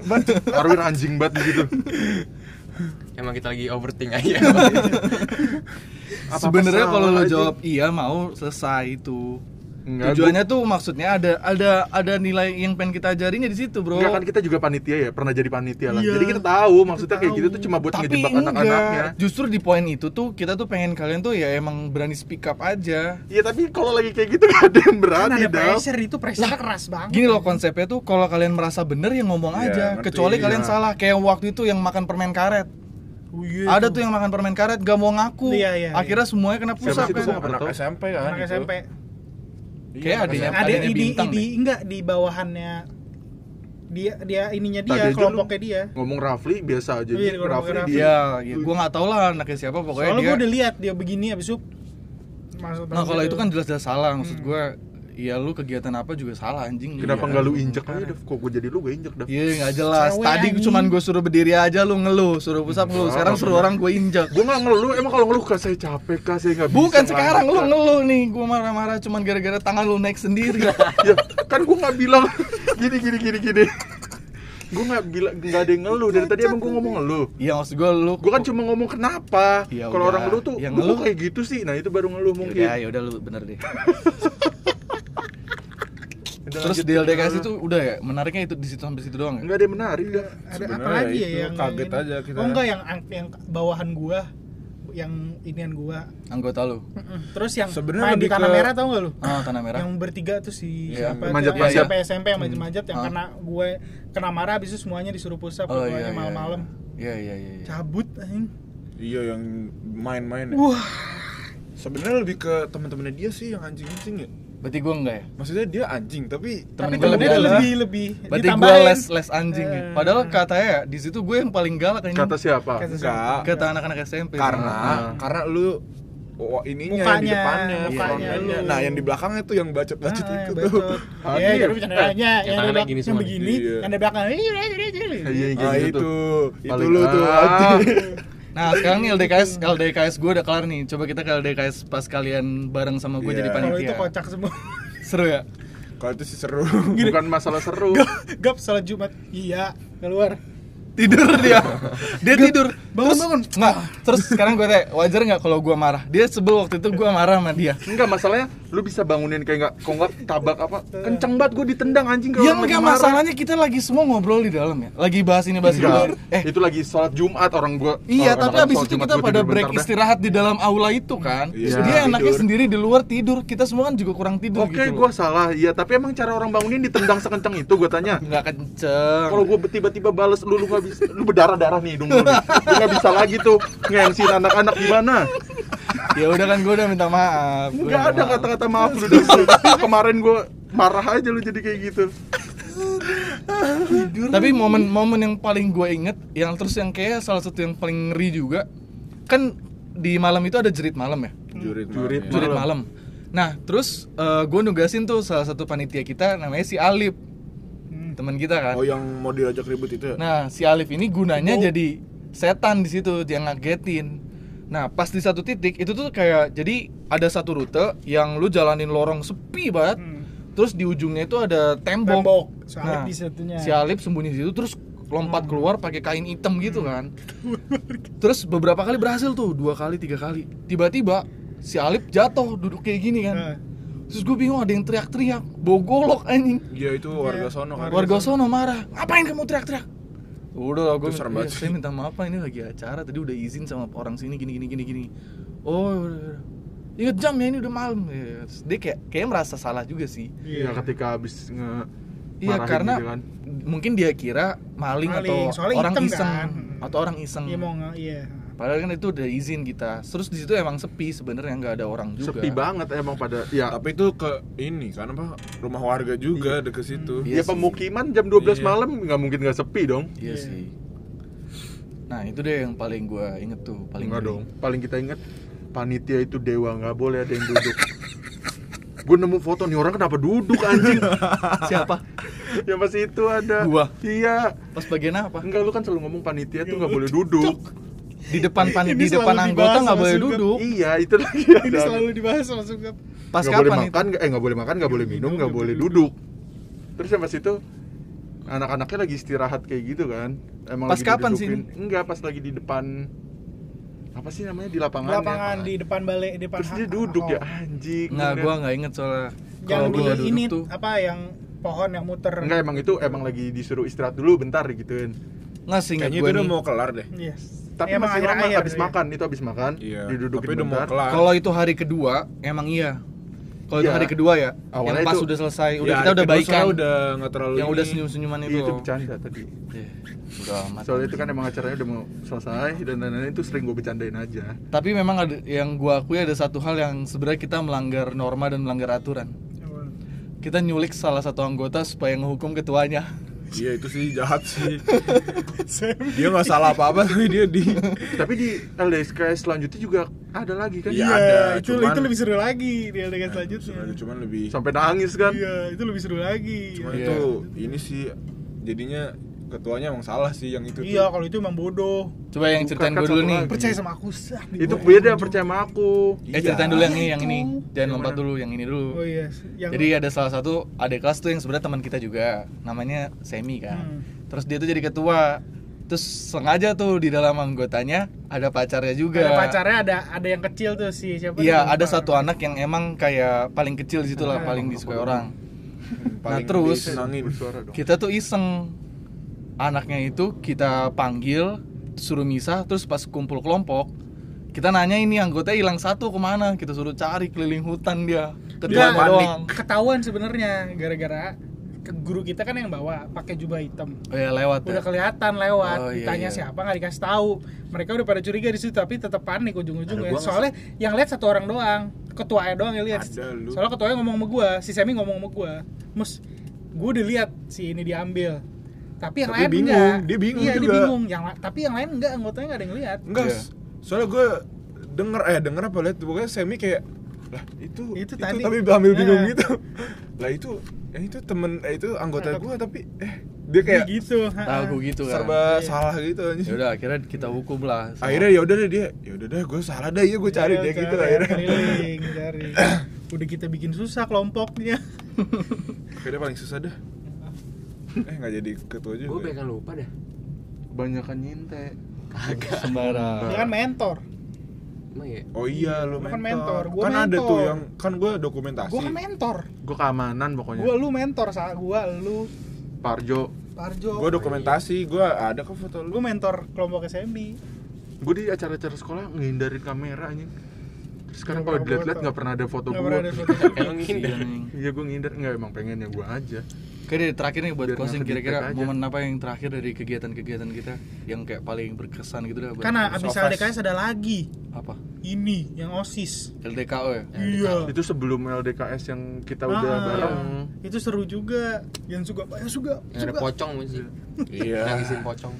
Arwin anjing banget gitu.
emang kita lagi overthink
Iya.
aja.
Apa-apa
Sebenarnya kalau
salah
lo
aja.
jawab iya mau selesai itu.
Enggak,
Tujuannya tuh maksudnya ada ada ada nilai yang pengen kita ajarinnya di situ, Bro.
Enggak kan kita juga panitia ya, pernah jadi panitia lah.
Iya.
Jadi kita tahu maksudnya kayak gitu tuh cuma ya. buat
Tapi
ngejebak
enggak.
anak-anaknya.
Justru di poin itu tuh kita tuh pengen kalian tuh ya emang berani speak up aja.
Iya, tapi kalau lagi kayak gitu gak ada yang
Kan
berani,
ada
Dal.
pressure itu pressure keras banget.
Gini loh konsepnya tuh kalau kalian merasa bener ya ngomong
Iya,
aja,
ngerti,
kecuali
iya.
kalian salah kayak waktu itu yang makan permen karet.
Oh,
Iya,
Ada tuh yang makan permen karet gak mau ngaku.
Iya, iya, iya.
Akhirnya semuanya kena
Siapa
pusat
sih itu?
kan.
Gua nggak pernah
anak
tahu.
SMP kan
anak
itu.
SMP.
Kayak adanya
Ada
adanya
di
bintang.
di
deh.
enggak di bawahannya dia dia ininya
Tadi
dia
aja
kelompoknya
lu
dia.
Ngomong Rafli biasa aja
Iya,
nih,
ngomong
Rafli
Rafli.
di
Iya, ya, gua nggak tahu lah anaknya siapa pokoknya
Soalnya
dia.
gue udah lihat dia begini abis itu masuk
Nah kalau itu
gitu.
kan jelas-jelas salah maksud
Hmm.
gue ya lu kegiatan apa juga salah anjing
Kenapa
Iya.
nggak lu injek aja, Dev? Kok gue jadi lu gue injek, Dev?
Iya nggak jelas.
Cewek,
Tadi
anjing.
cuman gue suruh berdiri aja lu ngeluh, suruh pusap ngeluh. Sekarang suruh orang gue injek.
Gue nggak ngeluh, emang kalau ngeluh kah saya capek kah saya nggak bisa
Bukan sekarang lu
ngelanjut, Kak?
ngeluh nih, gue marah-marah cuman gara-gara tangan lu naik sendiri.
Ya, kan gue nggak bilang gini gini gini gini. Gue nggak bilang nggak ada yang ngeluh dari tadi emang gue ngomong ngeluh.
Iya maksud gue lu.
Gue kan cuma ngomong kenapa.
Ya
kalau
udah,
orang ngeluh tuh
yang
"Lu kok
ngeluh."
kayak gitu sih. Nah itu baru ngeluh mungkin.
Ya ya udah lu bener deh. Terus di LDKS itu udah ya menariknya itu di situ sampai situ doang ya.
nggak ada yang menarik dah.
ada apa
Sebenarnya
lagi ya
itu,
yang
kaget
ini?
aja kita.
Oh enggak yang ang- yang bawahan gua yang inian gua.
Anggota lu.
Mm-mm. Terus yang
Sebenarnya
main
lebih
di tanah
ke-
merah tau gak lu?
Ah tanah merah.
Yang bertiga tuh si
Iya,
siapa?
manjat-manjat.
Yang SMP SMP yang manjat-manjat yang
Ah.
kena gue kena marah habis itu semuanya disuruh push
Oh,
up keduanya malam-malam.
Iya iya iya. iya.
Cabut anjing.
iya yang main-main ya.
Wah,
sebenarnya lebih ke teman-temannya dia sih yang anjing-anjing ya
Berarti gue enggak ya?
maksudnya dia anjing tapi
Temen
tapi
gue
kalau
lebih
dia
galak.
lebih lebih
Berarti gue
ditambahin. Eh.
les les anjing ya. Padahal katanya ya, di situ gue yang paling galak anjing.
Kata siapa?
Kata siapa?
enggak
kata anak-anak SMP.
karena
Ah.
karena lu oh, ininya yang di
Mukanya,
depannya
mukanya
frontnya.
lu.
nah yang di belakangnya tuh yang bacot-bacot
Ah,
itu
betul.
tuh
Iya,
Hadir.
jadi bercandanya
Eh,
yang
tangannya
belak-
gini
yang
semua nih.
begini,
Iya.
yang di belakang. Iya.
Iya yang kayak
ah
gitu.
itu
tuh.
itu
Paling-
lu tuh
Ah.
anjing.
Nah, sekarang nih LDKS LDKS gue udah kelar nih. Coba kita ke LDKS pas kalian bareng sama gue
Iya.
jadi
Kalau Oh, itu
panitia.
kocak semua.
Seru ya?
kalau itu sih seru
Bukan masalah seru.
Gap salat Jumat. Iya, keluar.
Tidur dia. Dia tidur.
bangun,
terus,
bangun.
Nggak, terus sekarang gue tanya, wajar nggak kalau gue marah? Dia sebel waktu itu gue marah sama dia.
Enggak masalahnya lu bisa bangunin kayak nggak kok nggak tabak apa kenceng banget gue ditendang anjing kalau
Eh. Ya
orang lagi
enggak
marah.
masalahnya kita lagi semua ngobrol di dalam ya. Lagi bahas ini bahas itu.
Iya.
Enggak.
Eh,
itu lagi sholat Jumat orang gua
Iya,
orang
tapi
orang
abis
sholat
itu
Jumat
kita
gua
pada
tidur
break
bentar dah.
istirahat di dalam aula itu kan.
Iya,
Dia enaknya
tidur.
sendiri di luar tidur. Kita semua kan juga kurang tidur
Oke,
gitu.
gua salah. Iya, tapi emang cara orang bangunin ditendang sekenceng itu gua tanya.
nggak kenceng.
Kalau gua tiba-tiba bales lu lu nggak bisa lu berdarah-darah nih hidung lu nih. Lu nggak bisa lagi tuh ngengsin anak-anak gimana?
Ya udah kan gua udah minta maaf. Gua
Enggak
udah
ada
maaf.
kata-kata maaf lu di situ. Kemarin gua marah aja lu jadi kayak gitu.
Tapi momen-momen yang paling gue inget, yang terus yang kayak salah satu yang paling ngeri juga, kan di malam itu ada jerit malam ya,
Jurit,
Jurit.
malam ya.
jerit malam. Nah terus gue nugasin tuh salah satu panitia kita namanya si Alif,
Hmm.
teman kita kan.
Oh yang mau diajak ribut itu ya?
Nah si Alif ini
Oh.
gunanya jadi setan di situ, dia ngagetin. Nah pas di satu titik itu tuh kayak jadi ada satu rute yang lu jalanin lorong sepi banget, terus di ujungnya itu ada tembok.
Hmm.
Nah,
Tembok, si Alip di situnya. Hmm.
Si Alip sembunyi di situ terus lompat keluar pakai kain hitam gitu kan. terus beberapa kali berhasil tuh, dua kali, tiga kali. Tiba-tiba si Alip jatuh duduk kayak gini
Nah.
kan. Terus gue bingung ada yang teriak-teriak, bogolok anjing.
Iya itu warga sono kan.
Warga sono marah, ngapain kamu teriak-teriak? Udah iya, gue
Itu serem banget
saya minta maaf Pak, ini lagi acara tadi udah izin sama orang sini gini gini gini gini. Oh, udah, udah. inget jam ya ini udah malam. Ya, terus Dia kayak kayak merasa salah juga sih.
Iya, ketika habis nge
Iya
marahin
karena
gitu kan.
mungkin dia kira maling,
Maling,
atau
soalnya
orang
hitam
iseng
kan.
atau orang iseng.
Iya mau nggak? Iya.
Padahal kan itu udah izin kita. Terus di situ emang sepi sebenarnya nggak ada orang juga.
sepi banget emang pada ya
Tapi itu ke ini kan apa rumah warga juga deket situ.
Ya
Iya. sih.
pemukiman jam 12
Iya.
malam nggak mungkin nggak sepi dong.
Iya sih. Nah itu deh yang paling gue inget tuh paling.
Enggak
ngeri.
dong. Paling kita ingat panitia itu dewa nggak boleh ada yang duduk. gue nemu foto nih orang kenapa duduk anjing?
Siapa?
ya pas itu ada.
Gua?
Iya.
Pas bagian apa?
Enggak lu kan selalu ngomong panitia tuh nggak boleh duduk.
Di depan pan
Ini
di
selalu
depan anggota
dibahas
nggak
sama
boleh
Sugeng.
duduk.
Iya itu lagi.
Ini
ada.
selalu dibahas langsung ke
Pas
Nggak boleh
kapan itu?
makan, nggak- eh nggak boleh makan, nggak boleh minum, nggak boleh duduk. Terus yang pas itu anak-anaknya lagi istirahat kayak gitu kan. Emang
Pas
lagi
kapan sih
didudukin. Enggak pas lagi di depan apa sih namanya di lapangan ya.
lapangan ya, di depan balai di depan
Terus dia
ha-
duduk
hall.
ya anjing.
Nggak,
Udah.
gue nggak inget soalnya. Kalau
Yang
gue
di
duduk
ini
tuh,
apa yang pohon yang muter.
Enggak emang gitu. itu emang lagi disuruh istirahat dulu bentar gituin.
nggak sih inget
Kayaknya
gue
itu udah
nih.
mau kelar deh.
Iya.
Tapi
Emang
masih lama
akhir-akhir,
habis
iya.
makan, itu habis makan,
Iya.
didudukin
Tapi udah mau
bentar.
kelar.
Kalau itu hari kedua, emang iya. Kalau itu
Iya.
hari kedua ya,
Awalnya
yang pas
itu-
udah selesai, udah
Ya,
kita udah
kedua
baikan.
soalnya udah nggak terlalu
yang
ini.
udah senyum-senyuman itu.
Iya, itu bercanda tadi.
Iya, Udah amat.
Soalnya itu kan emang acaranya udah mau selesai dan lain-lain itu sering gue bercandain aja.
Tapi memang ada yang gua akui ada satu hal yang sebenarnya kita melanggar norma dan melanggar aturan. Kita nyulik salah satu anggota supaya ngehukum ketuanya.
Iya itu sih jahat sih. dia nggak salah apa-apa tapi dia di.
Tapi di LDSK selanjutnya juga ada lagi kan?
Iya.
Iya,
ada,
itu
cuman-
itu lebih seru lagi di LDK selanjutnya.
Aduh, Cuman lebih.
Sampai nangis kan?
Iya, itu lebih seru lagi.
Cuman
Iya.
itu ini sih jadinya ketuanya emang salah sih yang itu. tuh.
Iya, kalau itu emang bodoh.
Coba yang ceritain
Bukan,
gua
kan
dulu
satu
nih.
lagi.
Percaya sama aku sah. di
Itu
gua.
beda percaya sama aku.
Eh ceritain
Iya.
dulu yang ini, yang ini. Jangan
Yang
lompat
mana?
dulu, yang ini dulu.
Oh iya, yang
Jadi ada salah satu adik kelas tuh yang sebenarnya teman kita juga, namanya Semi kan.
Hmm.
Terus dia tuh jadi ketua. Terus sengaja tuh di dalam anggotanya ada pacarnya juga.
ada pacarnya ada ada yang kecil tuh si siapa?
Iya,
tuh?
ada
Lupa.
satu anak yang emang kayak paling kecil di situ lah,
Hmm.
paling disukai orang.
Yang
Nah,
paling
terus
disenangin.
Bersuara dong.
kita tuh iseng anaknya itu kita panggil suruh misah terus pas kumpul kelompok kita nanya ini anggota hilang satu kemana kita suruh cari keliling hutan dia
Dia
ketuanya doang
oh, ketahuan sebenarnya gara-gara ke- guru kita kan yang bawa pakai jubah hitam.
oh ya lewat ya.
Udah kelihatan lewat,
Oh, iya,
ditanya
iya.
siapa nggak dikasih tahu. Mereka udah pada curiga di situ tapi tetap panik
Ada
ujung-ujungnya.
gua nggak
Soalnya yang lihat satu orang doang, ketuanya doang yang lihat.
Ada lu.
Soalnya ketuanya ngomong sama gua, si Semi ngomong sama gua. Mus, gua udah lihat si ini diambil. Tapi yang
Tapi
lain
bingung,
enggak.
dia bingung
iya, dia
juga.
bingung. Yang la- tapi yang lain enggak, anggotanya enggak ada yang lihat.
Enggak.
Iya.
Soalnya gue denger eh denger apa lihat pokoknya Semi kayak lah itu
Itu tadi."
tapi ambil bingung
Nah.
gitu. Lah itu eh, itu temen eh, itu anggota gue tapi eh dia kayak
gitu. Iya.
tahu
ha-ha.
gue gitu kan
serba salah gitu
ya
anjing.
udah akhirnya kita hukum lah sama-
Akhirnya ya udah deh dia, ya udah deh gue salah deh, iya gue cari
Iya,
dia gitu
cari,
akhirnya.
Keliling, cari. Udah kita bikin susah kelompoknya.
Akhirnya paling susah dah. Eh nggak jadi ketua juga.
Gue pengen lupa deh.
Kebanyakan nyinte.
sembarang
Dia kan mentor.
Emang iya?
Oh iya lu
Lu
mentor.
kan mentor, gua
kan ada
mentor.
tuh yang kan gua dokumentasi.
Gua kan mentor.
gue keamanan pokoknya
Gua lu mentor sa gua lu
Parjo
Parjo.
Gua dokumentasi, gua ada kok foto lu.
Gua mentor kelompok SMB.
gue di acara-acara sekolah ngehindarin kamera anjing terus sekarang kalau
Nggak pernah
dilihat-lihat
foto.
nggak pernah ada foto
Iya, Nggak pernah ada foto.
gue
Emang ngindar.
iya gue ngindar nggak emang pengennya gue aja
Oke deh, terakhir nih buat
Biar
closing
nggak ke-detect
kira-kira
aja.
momen apa yang terakhir dari kegiatan-kegiatan kita yang kayak paling berkesan gitu dah buat
Karena Kan abis
Sofas.
LDKS ada lagi
apa?
ini yang OSIS.
LDKO ya.
Iya.
itu sebelum LDKS yang kita udah
Ah,
bareng
Itu seru juga. Yang suka banyak suka.
Yang ada pocong muncul.
Iya.
Nangisin pocong.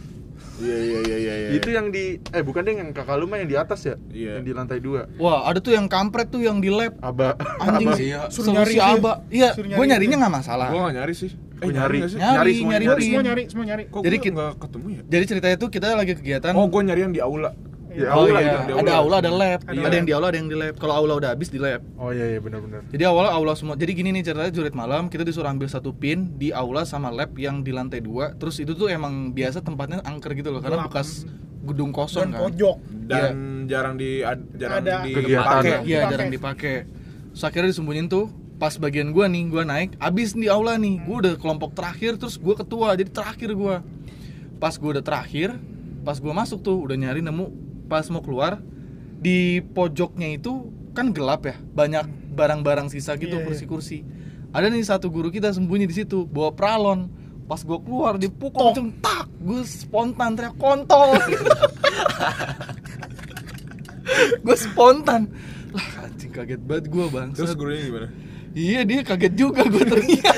Iya iya iya iya. iya.
itu yang di eh bukan deh yang kakak lu mah yang di atas ya
Iya.
yang di lantai dua
Wah, ada tuh yang kampret tuh yang di lab.
aba
Anjing
Aba.
sih.
Iya.
Suruh
Suruh
nyari
si
itu.
Aba. Iya,
Suruh
gue
nyari
nyarinya nggak masalah.
Gua nggak Eh, nyari sih.
Gua nyari.
nggak sih?
Nyari,
Nyari, semua
nyari.
nyari.
Nyari semua nyari, semua nyari.
Kok
Jadi
gua
ki-
nggak ketemu ya?
Jadi ceritanya tuh kita lagi kegiatan.
Oh, gua nyari yang di aula.
Ya,
Oh,
aula,
iya.
di
ada aula, ada lab.
Iya.
Ada yang di aula, ada yang di lab. Kalau aula udah habis di lab.
oh iya iya benar-benar
Jadi awalnya aula semua. Jadi gini nih ceritanya jurit malam kita disuruh ambil satu pin di aula sama lab yang di lantai dua. Terus itu tuh emang biasa tempatnya angker gitu loh karena
Gelap.
bekas gedung
Dan
kosong kan.
pojok.
Dan jarang di ad- jarang
Ada
di
kegiatan.
pakai.
Iya
Dipakai.
jarang dipakai. Terus akhirnya disembunyiin tuh pas bagian gua nih gua naik abis di aula nih gua udah kelompok terakhir terus gua ketua jadi terakhir gua pas gua udah terakhir pas gua masuk tuh udah nyari nemu pas mau keluar di pojoknya itu kan gelap ya banyak barang-barang sisa gitu
Iya, iya.
kursi-kursi ada nih satu guru kita sembunyi di situ bawa pralon pas gua keluar dipukul
Tok.
macam tak gua spontan teriak kontol gue spontan lah anjing kaget banget gue bang
Terus gurunya gimana?
iya dia kaget juga gue teriak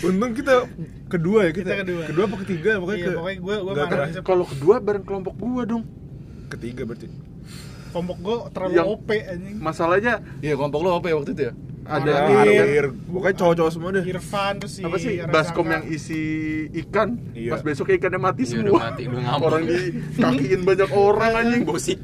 Untung kita kedua ya kita.
Kita kedua.
apa ketiga pokoknya
Iya,
ke-
pokoknya gua gua
nggak
marah.
terakhir.
kalau kedua bareng kelompok gua dong
ketiga berarti.
Kelompok gua terlalu
Yang-
OP anjing.
masalahnya
iya kelompok lo apa ya waktu itu ya
ada
Ada
Arya.
Arya.
Akhir. Pokoknya cowok-cowok semua deh.
Irfan terus si
apa sih
Reza
baskom
Angga.
yang isi ikan
Iya.
pas besok ikannya mati
Iya,
semua
udah mati, udah ngambek.
orang di kakiin banyak orang anjing
Bosik.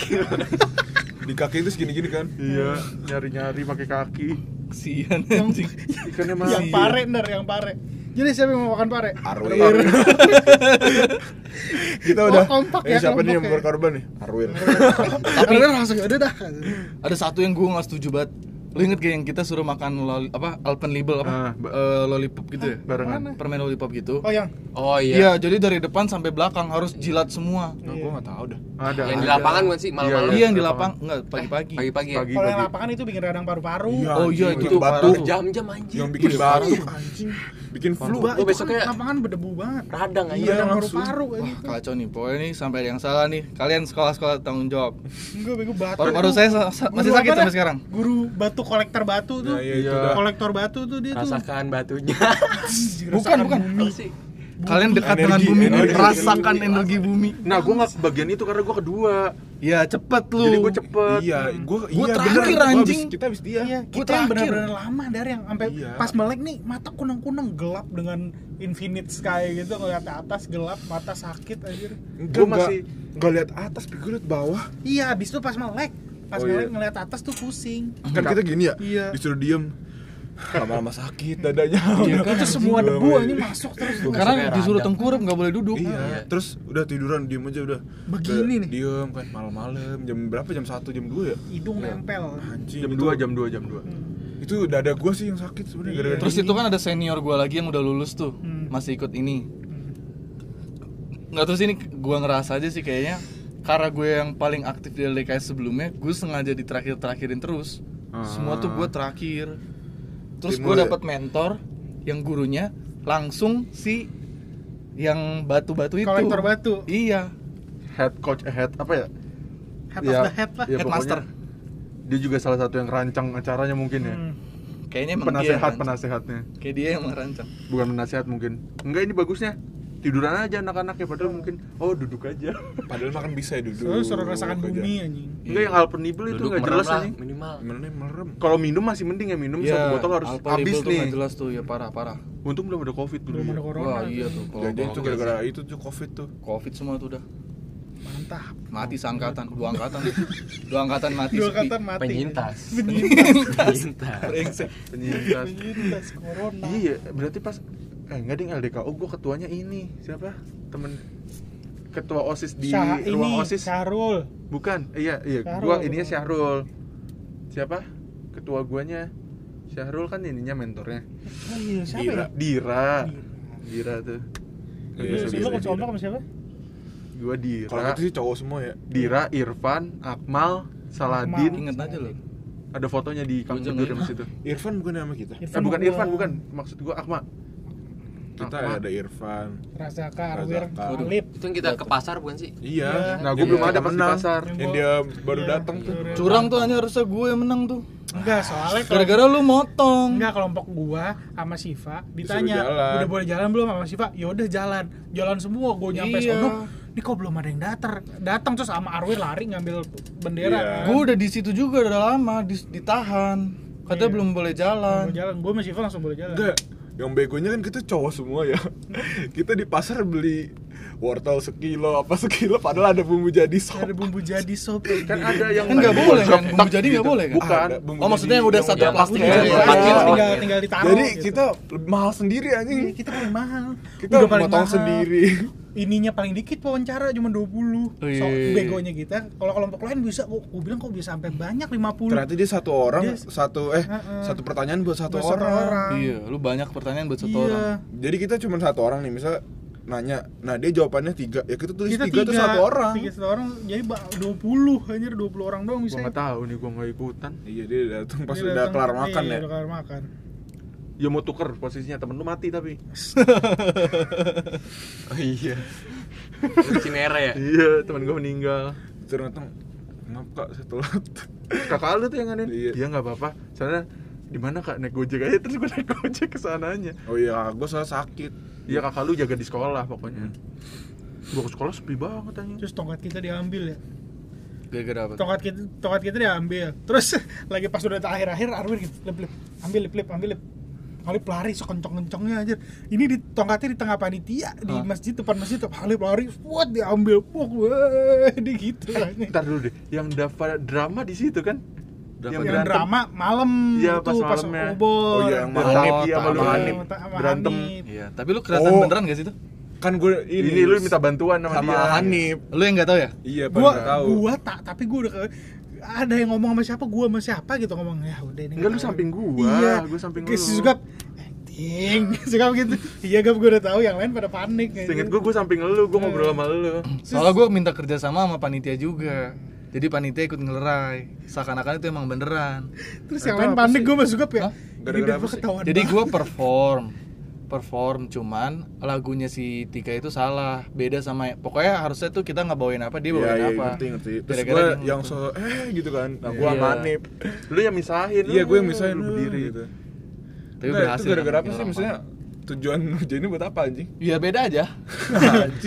Di kaki itu segini-gini kan.
iya nyari nyari pakai kaki
kesian anjing
ikannya mati
yang pare ner yang pare. Iya. Jadi siapa yang mau makan pare?
Arwir. kita
Oh,
udah
kompak
eh,
ya,
siapa nih yang
kompak ya.
berkorban nih? Arwir.
Tapi langsung ya, udah dah.
ada satu yang gue nggak setuju banget lo inget gak yang kita suruh makan loli, apa alpenlibel
Ah,
apa
ba-
Eh, lollipop gitu ya
barengan
Mana?
permen lollipop gitu
Oh yang
Oh iya.
Iya, jadi dari depan sampai belakang harus jilat semua.
Nah, gua enggak tahu dah.
ada
Yang di
ada.
lapangan bukan sih? Malam-malam.
Iya,
Iya, yang di
lapangan.
lapang enggak pagi-pagi.
Pagi-pagi ya.
Pagi.
kalau yang lapangan itu bikin radang paru-paru.
Oh iya,
anjing,
itu
bikin
parah
batuk.
tuh.
Jam-jam anjing.
Yang
Iya,
bikin batuk anjing. Bikin flu.
Ba,
Gua
itu
besoknya-
kan lapangan berdebu banget.
Radang
Iya,
anjing.
Radang
langsung.
paru-paru
Wah,
anjing.
kacau nih. Pokoknya nih sampai ada yang salah nih. Kalian sekolah-sekolah tanggung jawab.
Enggak bego batuk.
Paru-paru saya sa- sa-
Guru
masih
apa
sakit
dah?
sampai sekarang.
Guru batu kolektor batu tuh.
Nah, iya itu
Iya.
dah.
Kolektor batu tuh dia tuh.
Rasakan batunya.
Anjing,
Bukan,
rasakan
bukan.
bumi.
Apa sih?
Kalian dekat dengan
Energi,
bumi,
energi.
rasakan energi bumi.
nah gua nggak bagian itu karena gua kedua
Ya cepet lu.
jadi gua cepet
Iya, gua
Gua
iya
terakhir,
bener. Gua habis-
anjing.
Kita habis dia.
Iya,
Gua
kita yang
terakhir.
benar-benar lama dari yang sampai
Iya.
pas melek nih mata kuning-kuning gelap dengan infinite sky gitu ngeliat ke atas gelap mata sakit anjir.
Gua
Enggak, gua masih
masih-
enggak lihat atas, gue lihat bawah. Kan
Iya, abis itu pas melek, pas
Oh,
melek
iya.
ngeliat atas tuh pusing.
Kan kita gini ya.
Iya.
Disuruh diem. Lama-lama sakit dadanya.
Iya, kan?
Itu
Gua
semua debu
masih-
ini masuk terus.
Karena
Masuk kayak
disuruh
radang.
tengkurap nggak boleh duduk.
Iya. Terus udah tiduran diem aja udah.
Begini
Udah
nih.
Diem kan malam-malam jam berapa? Jam 1 jam 2 ya?
Hidung nempel.
Anjing.
jam
itu-
dua jam dua jam dua
Itu dada gua sih yang sakit sebenarnya gara-gara
Terus itu kan ada senior gua lagi yang udah lulus tuh,
Hmm.
masih ikut ini. Nggak terus ini gua ngerasa aja sih kayaknya karena gue yang paling aktif di LDKS sebelumnya, gue sengaja di terakhir terakhirin terus.
Ah.
Semua tuh gue terakhir. Terus gue
Timur ya?
dapet mentor yang gurunya langsung si yang batu-batu itu.
Kolektor batu.
Iya.
head coach eh, head apa ya
Head
Ya,
of the head lah.
ya,
Headmaster.
pokoknya dia juga salah satu yang rancang acaranya mungkin ya
Hmm.
Kayaknya emang dia yang
penasehat
rancang.
penasehatnya
Kayak dia yang merancang.
bukan penasehat mungkin enggak ini bagusnya tiduran aja anak-anak ya padahal mungkin oh duduk aja
Padahal makan bisa ya duduk.
Soalnya suruh rasakan
aja.
bumi anjing.
Iya.
enggak yang alpenibel itu
Duduk
enggak
merem
jelas
lah
anjing
minimal.
Gimana nih merem?
kalau minum masih mending ya minum satu botol harus
Alpha
habis
Label Iya, tuh nggak
nih
jelas tuh ya parah-parah.
untung belum ada covid dulu
Belum ada
ya.
corona.
Wah, iya tuh kalau
Jadi itu
bohong.
gara-gara itu tuh covid tuh.
Covid semua tuh udah
Mantap.
mati seangkatan, dua angkatan. dua angkatan mati.
Dua
sepi.
kata mati.
Penyintas. Penyintas.
Brengsek.
penyintas
Penyintas corona.
iya berarti pas eh enggak ding LDKO gua ketuanya ini siapa temen ketua OSIS di ruang
Syah ini
OSIS.
Syahrul
Bukan. Iya, iya.
Syahrul.
Gua ininya Syahrul. Siapa? Ketua guanya. Syahrul kan ininya mentornya.
oh iya
Dira.
siapa ya
Dira. Dira tuh.
Iya,
Terus
bisa,
lu
bisa,
coach
bisa.
Omar sama siapa
Gua Dira.
Kalau itu sih cowok semua ya.
Dira, Irfan, Akmal, Saladin.
Ingat aja loh.
Ada fotonya di Kang
Ujung
Gedur
ya.
di situ.
Irfan bukan nama kita.
Eh bukan Irfan, bukan. Maksud gua Akmal.
Kita
Akmal.
ada Irfan.
Razaka Arwir
Razaka.
Alip
Itu yang kita ke pasar bukan sih?
Iya.
Nah,
Yang
gua belum
kita
ada pas di
menang.
pasar.
Yang dia baru
Iya.
datang tuh.
Iya.
Curang tuh hanya harusnya gue yang menang tuh.
enggak soalnya kalau
Gara-gara lu motong.
Enggak kelompok gua sama Siva
Disuruh
ditanya
jalan.
udah boleh jalan belum sama Siva? Ya udah jalan. Jalan semua gua nyampe
Iya.
sono. Ini kok belum ada yang datar. Datang terus sama Arwin lari ngambil bendera.
Iya.
Kan?
Gue udah di situ juga udah lama dis- ditahan. Katanya
Iya.
belum boleh
Gua
jalan.
jalan, gua sama Siva langsung boleh jalan.
Enggak. Yang begonya kan kita cowok semua ya. kita di pasar beli wortel sekilo apa sekilo padahal ada bumbu jadi sop.
Ada bumbu jadi sop.
Kan ada yang
Kan nggak
tadi
boleh kan?
kocok,
Bumbu
tak
jadi nggak
gitu.
boleh kan?
Bukan.
Ada bumbu
Oh maksudnya
jadi
udah
yang
satu
yang
plastik
pakai.
aja, ya?
Iya,
empat
Iya,
kilo.
tinggal tinggal ditaruh.
Jadi
gitu.
kita mahal sendiri anjing.
Iya, kita paling mahal.
Kita motong sendiri.
Ininya paling dikit wawancara cuma 20. So,
Wih.
begonya kita. Kalau kelompok lain bisa gua, gua bilang kok bisa sampai banyak 50.
Ternyata dia satu orang,
Dia-
satu eh
Heeh.
satu pertanyaan buat satu
Buat
orang.
Iya, lu banyak pertanyaan buat satu
Iya.
orang.
Jadi kita cuma satu orang nih, misal nanya, nah dia jawabannya tiga, ya kita tulis
kita
tiga, tuh satu orang.
tiga satu orang jadi ba- 20 anjir 20 orang doang bisa
Gua nggak tahu nih gua nggak ikutan.
Iya dia datang pas
Dia
udah
datang,
kelar
iya,
makan ya.
udah kelar makan
Ya mau tuker posisinya temen lu mati tapi.
Oh iya. Cinere
Eh.
ya.
Iya, temen gua meninggal.
Terus datang, maaf kak, saya telat.
kakak lu tuh yang aneh
Iya.
dia nggak apa-apa soalnya di mana kak naik gojek aja terus gue naik gojek ke sananya
Oh iya, kakak gue soalnya sakit.
iya kakak lu jaga di sekolah pokoknya
Hmm.
gua ke sekolah sepi banget anjing
terus tongkat kita diambil ya
Gara-gara apa?
tongkat kita tongkat kita diambil terus lagi pas udah akhir akhir Arwin gitu lip lip ambil lip lip ambil lip Halip lari sekencong kencongnya anjir ini di tongkatnya di tengah panitia di
Hah?
Ah.
masjid depan masjid Halip lari buat diambil puk wah di gitu
Eh,
anjing.
ntar dulu deh yang daftar drama di situ kan
Drama.
yang,
berantem.
drama malam
Iya,
tuh
pas
pas
malamnya.
obor
Oh iya, yang
Sama
malam.
Hanif,
Oh,
iya, sama
sama
lu
Hanif.
Hanif. berantem
Iya, tapi lu kelihatan
Oh.
beneran gak sih tuh?
Kan gue ini,
ini lu minta bantuan sama,
sama
dia
Hanif.
Lu yang gak tahu ya?
Iya,
gua
pada tahu.
gua tak tapi gua udah ke- ada yang ngomong sama siapa gua sama siapa gitu ngomong ya udah ini
Enggak,
nggak
lu
tahu."
samping gua,
iya
gua samping
Terus
lu.
si Sugap ting Sugap gitu iya gap gua udah tahu yang lain pada panik gitu.
Seinget gue, gue samping lu, gue ngobrol sama lu
Soalnya gue minta kerja sama sama panitia juga. Jadi panitia ikut ngelerai. Seakan-akan itu emang beneran.
terus yang lain panik gua sama Sugap ya
Hah?
ini
Gara-gara
udah
apa
gua
sih?
ketahuan
Jadi
banget.
gue perform perform cuman lagunya si Tika itu salah beda sama pokoknya harusnya tuh kita nggak bawain apa dia
Iya,
bawain
iya,
apa
ngerti, ngerti. Terus
Gara-gara
gue
dia
yang
ngelakuin.
so, eh gitu kan. Nah, gue
Iya.
sama Hanif.
Lu yang misahin
Iya,
lu.
gue yang misalnya
Lu
lu
berdiri
berdiri gitu.
tapi
Nah,
berhasil
itu gara-gara
kan,
apa sih?
orang
Maksudnya tujuan ujian ini buat apa anjing?
Pak. biar Ya, beda aja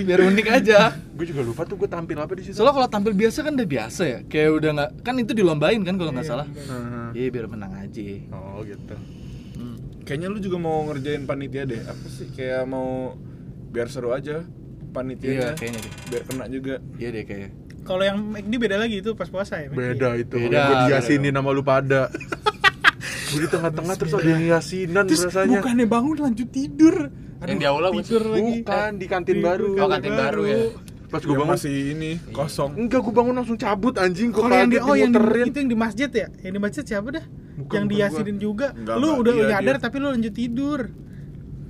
biar unik aja
Gue juga lupa tuh gue tampil apa di situ
soalnya kalau tampil biasa kan udah biasa ya kayak udah nggak kan itu dilombain kan kalau nggak
Iya,
salah
Nah.
Heeh.
iya biar menang aja
Oh gitu
Hmm.
Kayaknya lu juga mau ngerjain panitia deh. Apa sih kayak mau biar seru aja
iya
panitianya.
kayaknya deh
biar kena juga.
iya deh kayaknya
kalau yang ini beda lagi itu pas puasa ya Mac?
Beda itu,
Beda,
gue
beda
diyasinin sama lu pada Gue di tengah-tengah terus ada yang yasinan
terus
rasanya
bukannya bangun lanjut tidur
Yang di aula bukan sih?
tidur lagi
Bukan, di kantin
Di
baru.
Oh, kantin baru ya.
Pas
Gue
gue bangun
Iya, masih ini kosong.
Enggak, gue bangun langsung cabut anjing Gue
Kalau yang di
kaget
oh yang di,
dimuterin
itu yang di masjid ya? Yang di masjid siapa dah?
Bukan,
yang
bukan
diyasinin juga.
Enggak,
lu
Mbak.
udah
Iya,
nyadar
dia.
tapi lu lanjut tidur.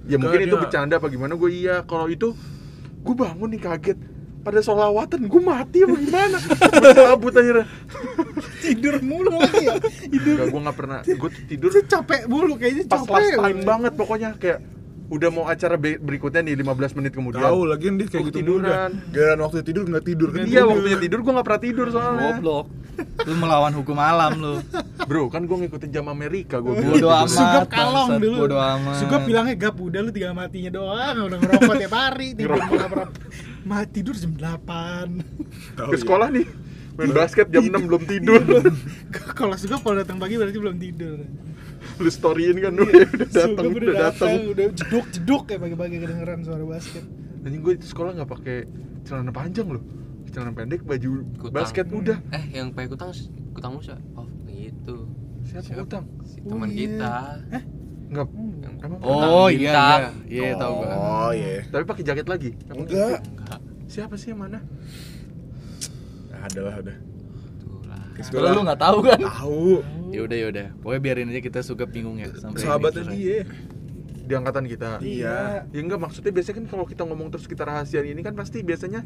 Ya mungkin itu
Enggak, dia-
bercanda apa gimana gue iya Kalau itu gue bangun nih kaget Pada solawatan gue mati apa gimana Gue cabut akhirnya
tidur mulu lagi ya. Tidur.
Enggak, gue gak pernah Gue tidur
Itu capek mulu kayaknya
pas
capek.
pas time banget pokoknya Kayak udah mau acara be- berikutnya nih 15 menit kemudian
Tahu lagi dia kayak
Gua
gitu
ketiduran.
mudah. Gara-gara waktu tidur nggak tidur kan?
Iya waktunya tidur gue gak pernah tidur soalnya
goblok lu melawan hukum alam lu
Bro kan gue ngikutin jam Amerika gue
bodo amat
Sugap kalong
bangsat,
dulu.
bodo amat
Sugap bilangnya gap udah lu tiga matinya doang, udah ngerokok tiap hari, tidur
Ngerokok.
ngerokok. Mati tidur jam 8.
Tahu
Ke
ya.
sekolah nih Main basket jam 6 belum tidur
kalau Sugap kalau datang pagi berarti belum tidur.
Lu storyin kan lu
Iya.
ya, udah datang
Sugap
udah datang
udah jeduk-jeduk ya pagi-pagi kedengeran suara basket.
Anjing gue itu sekolah nggak pakai celana panjang loh. Celana pendek, baju
Kutang.
basket udah.
Eh, yang pakai kutang kutang musa. Oh, gitu.
Siapa, utang?
Si
Oh,
teman
iya.
kita.
Eh,
Enggak.
Yang
Emang
oh
Bintang.
iya iya iya tahu gua
Oh iya.
Tapi pakai jaket lagi.
Enggak.
Enggak.
siapa sih yang mana
Nah, adalah udah.
Tuh lah.
Kalau lu nggak tahu kan?
tahu
Ya udah ya udah. Pokoknya biarin aja kita suka bingung ya sampai
sahabatnya
ini
dia.
di angkatan kita
Iya.
ya enggak maksudnya biasanya kan kalau kita ngomong terus kita rahasiain ini kan pasti biasanya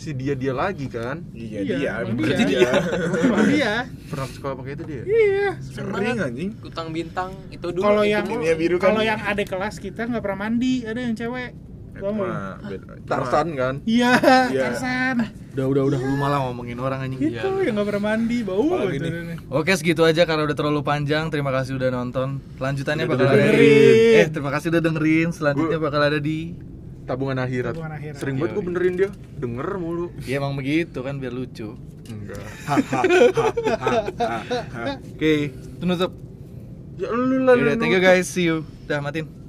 si dia dia lagi kan
Iya,
Iya,
dia.
emang
Berarti
dia.
dia.
Emang dia
pernah sekolah pakai itu dia
iya
Sering anjing.
Kutang bintang itu dulu.
kalau
itu
yang ya,
dulu.
Kimia biru kan.
kalau yang ada kelas kita nggak pernah mandi ada yang cewek Tau nggak?
Nah, beda-
Tarsan kan
iya
Iya.
Tarsan
Udah udah udah lu malah ngomongin orang anjing. Iya.
itu yang nggak pernah mandi bau
Apalagi
gitu
nih.
Oke segitu aja karena udah terlalu panjang. Terima kasih udah nonton. Lanjutannya bakal ada di
dengerin.
Eh terima kasih udah dengerin. Selanjutnya bakal ada di
tabungan akhirat
Tabungan akhirat. Iya,
sering banget gue benerin dia denger mulu
Ya emang begitu kan biar lucu.
enggak
Oke, penutup.
ya lu lah lu Ya
Ya Yaudah, thank you guys. See you. Dah matiin.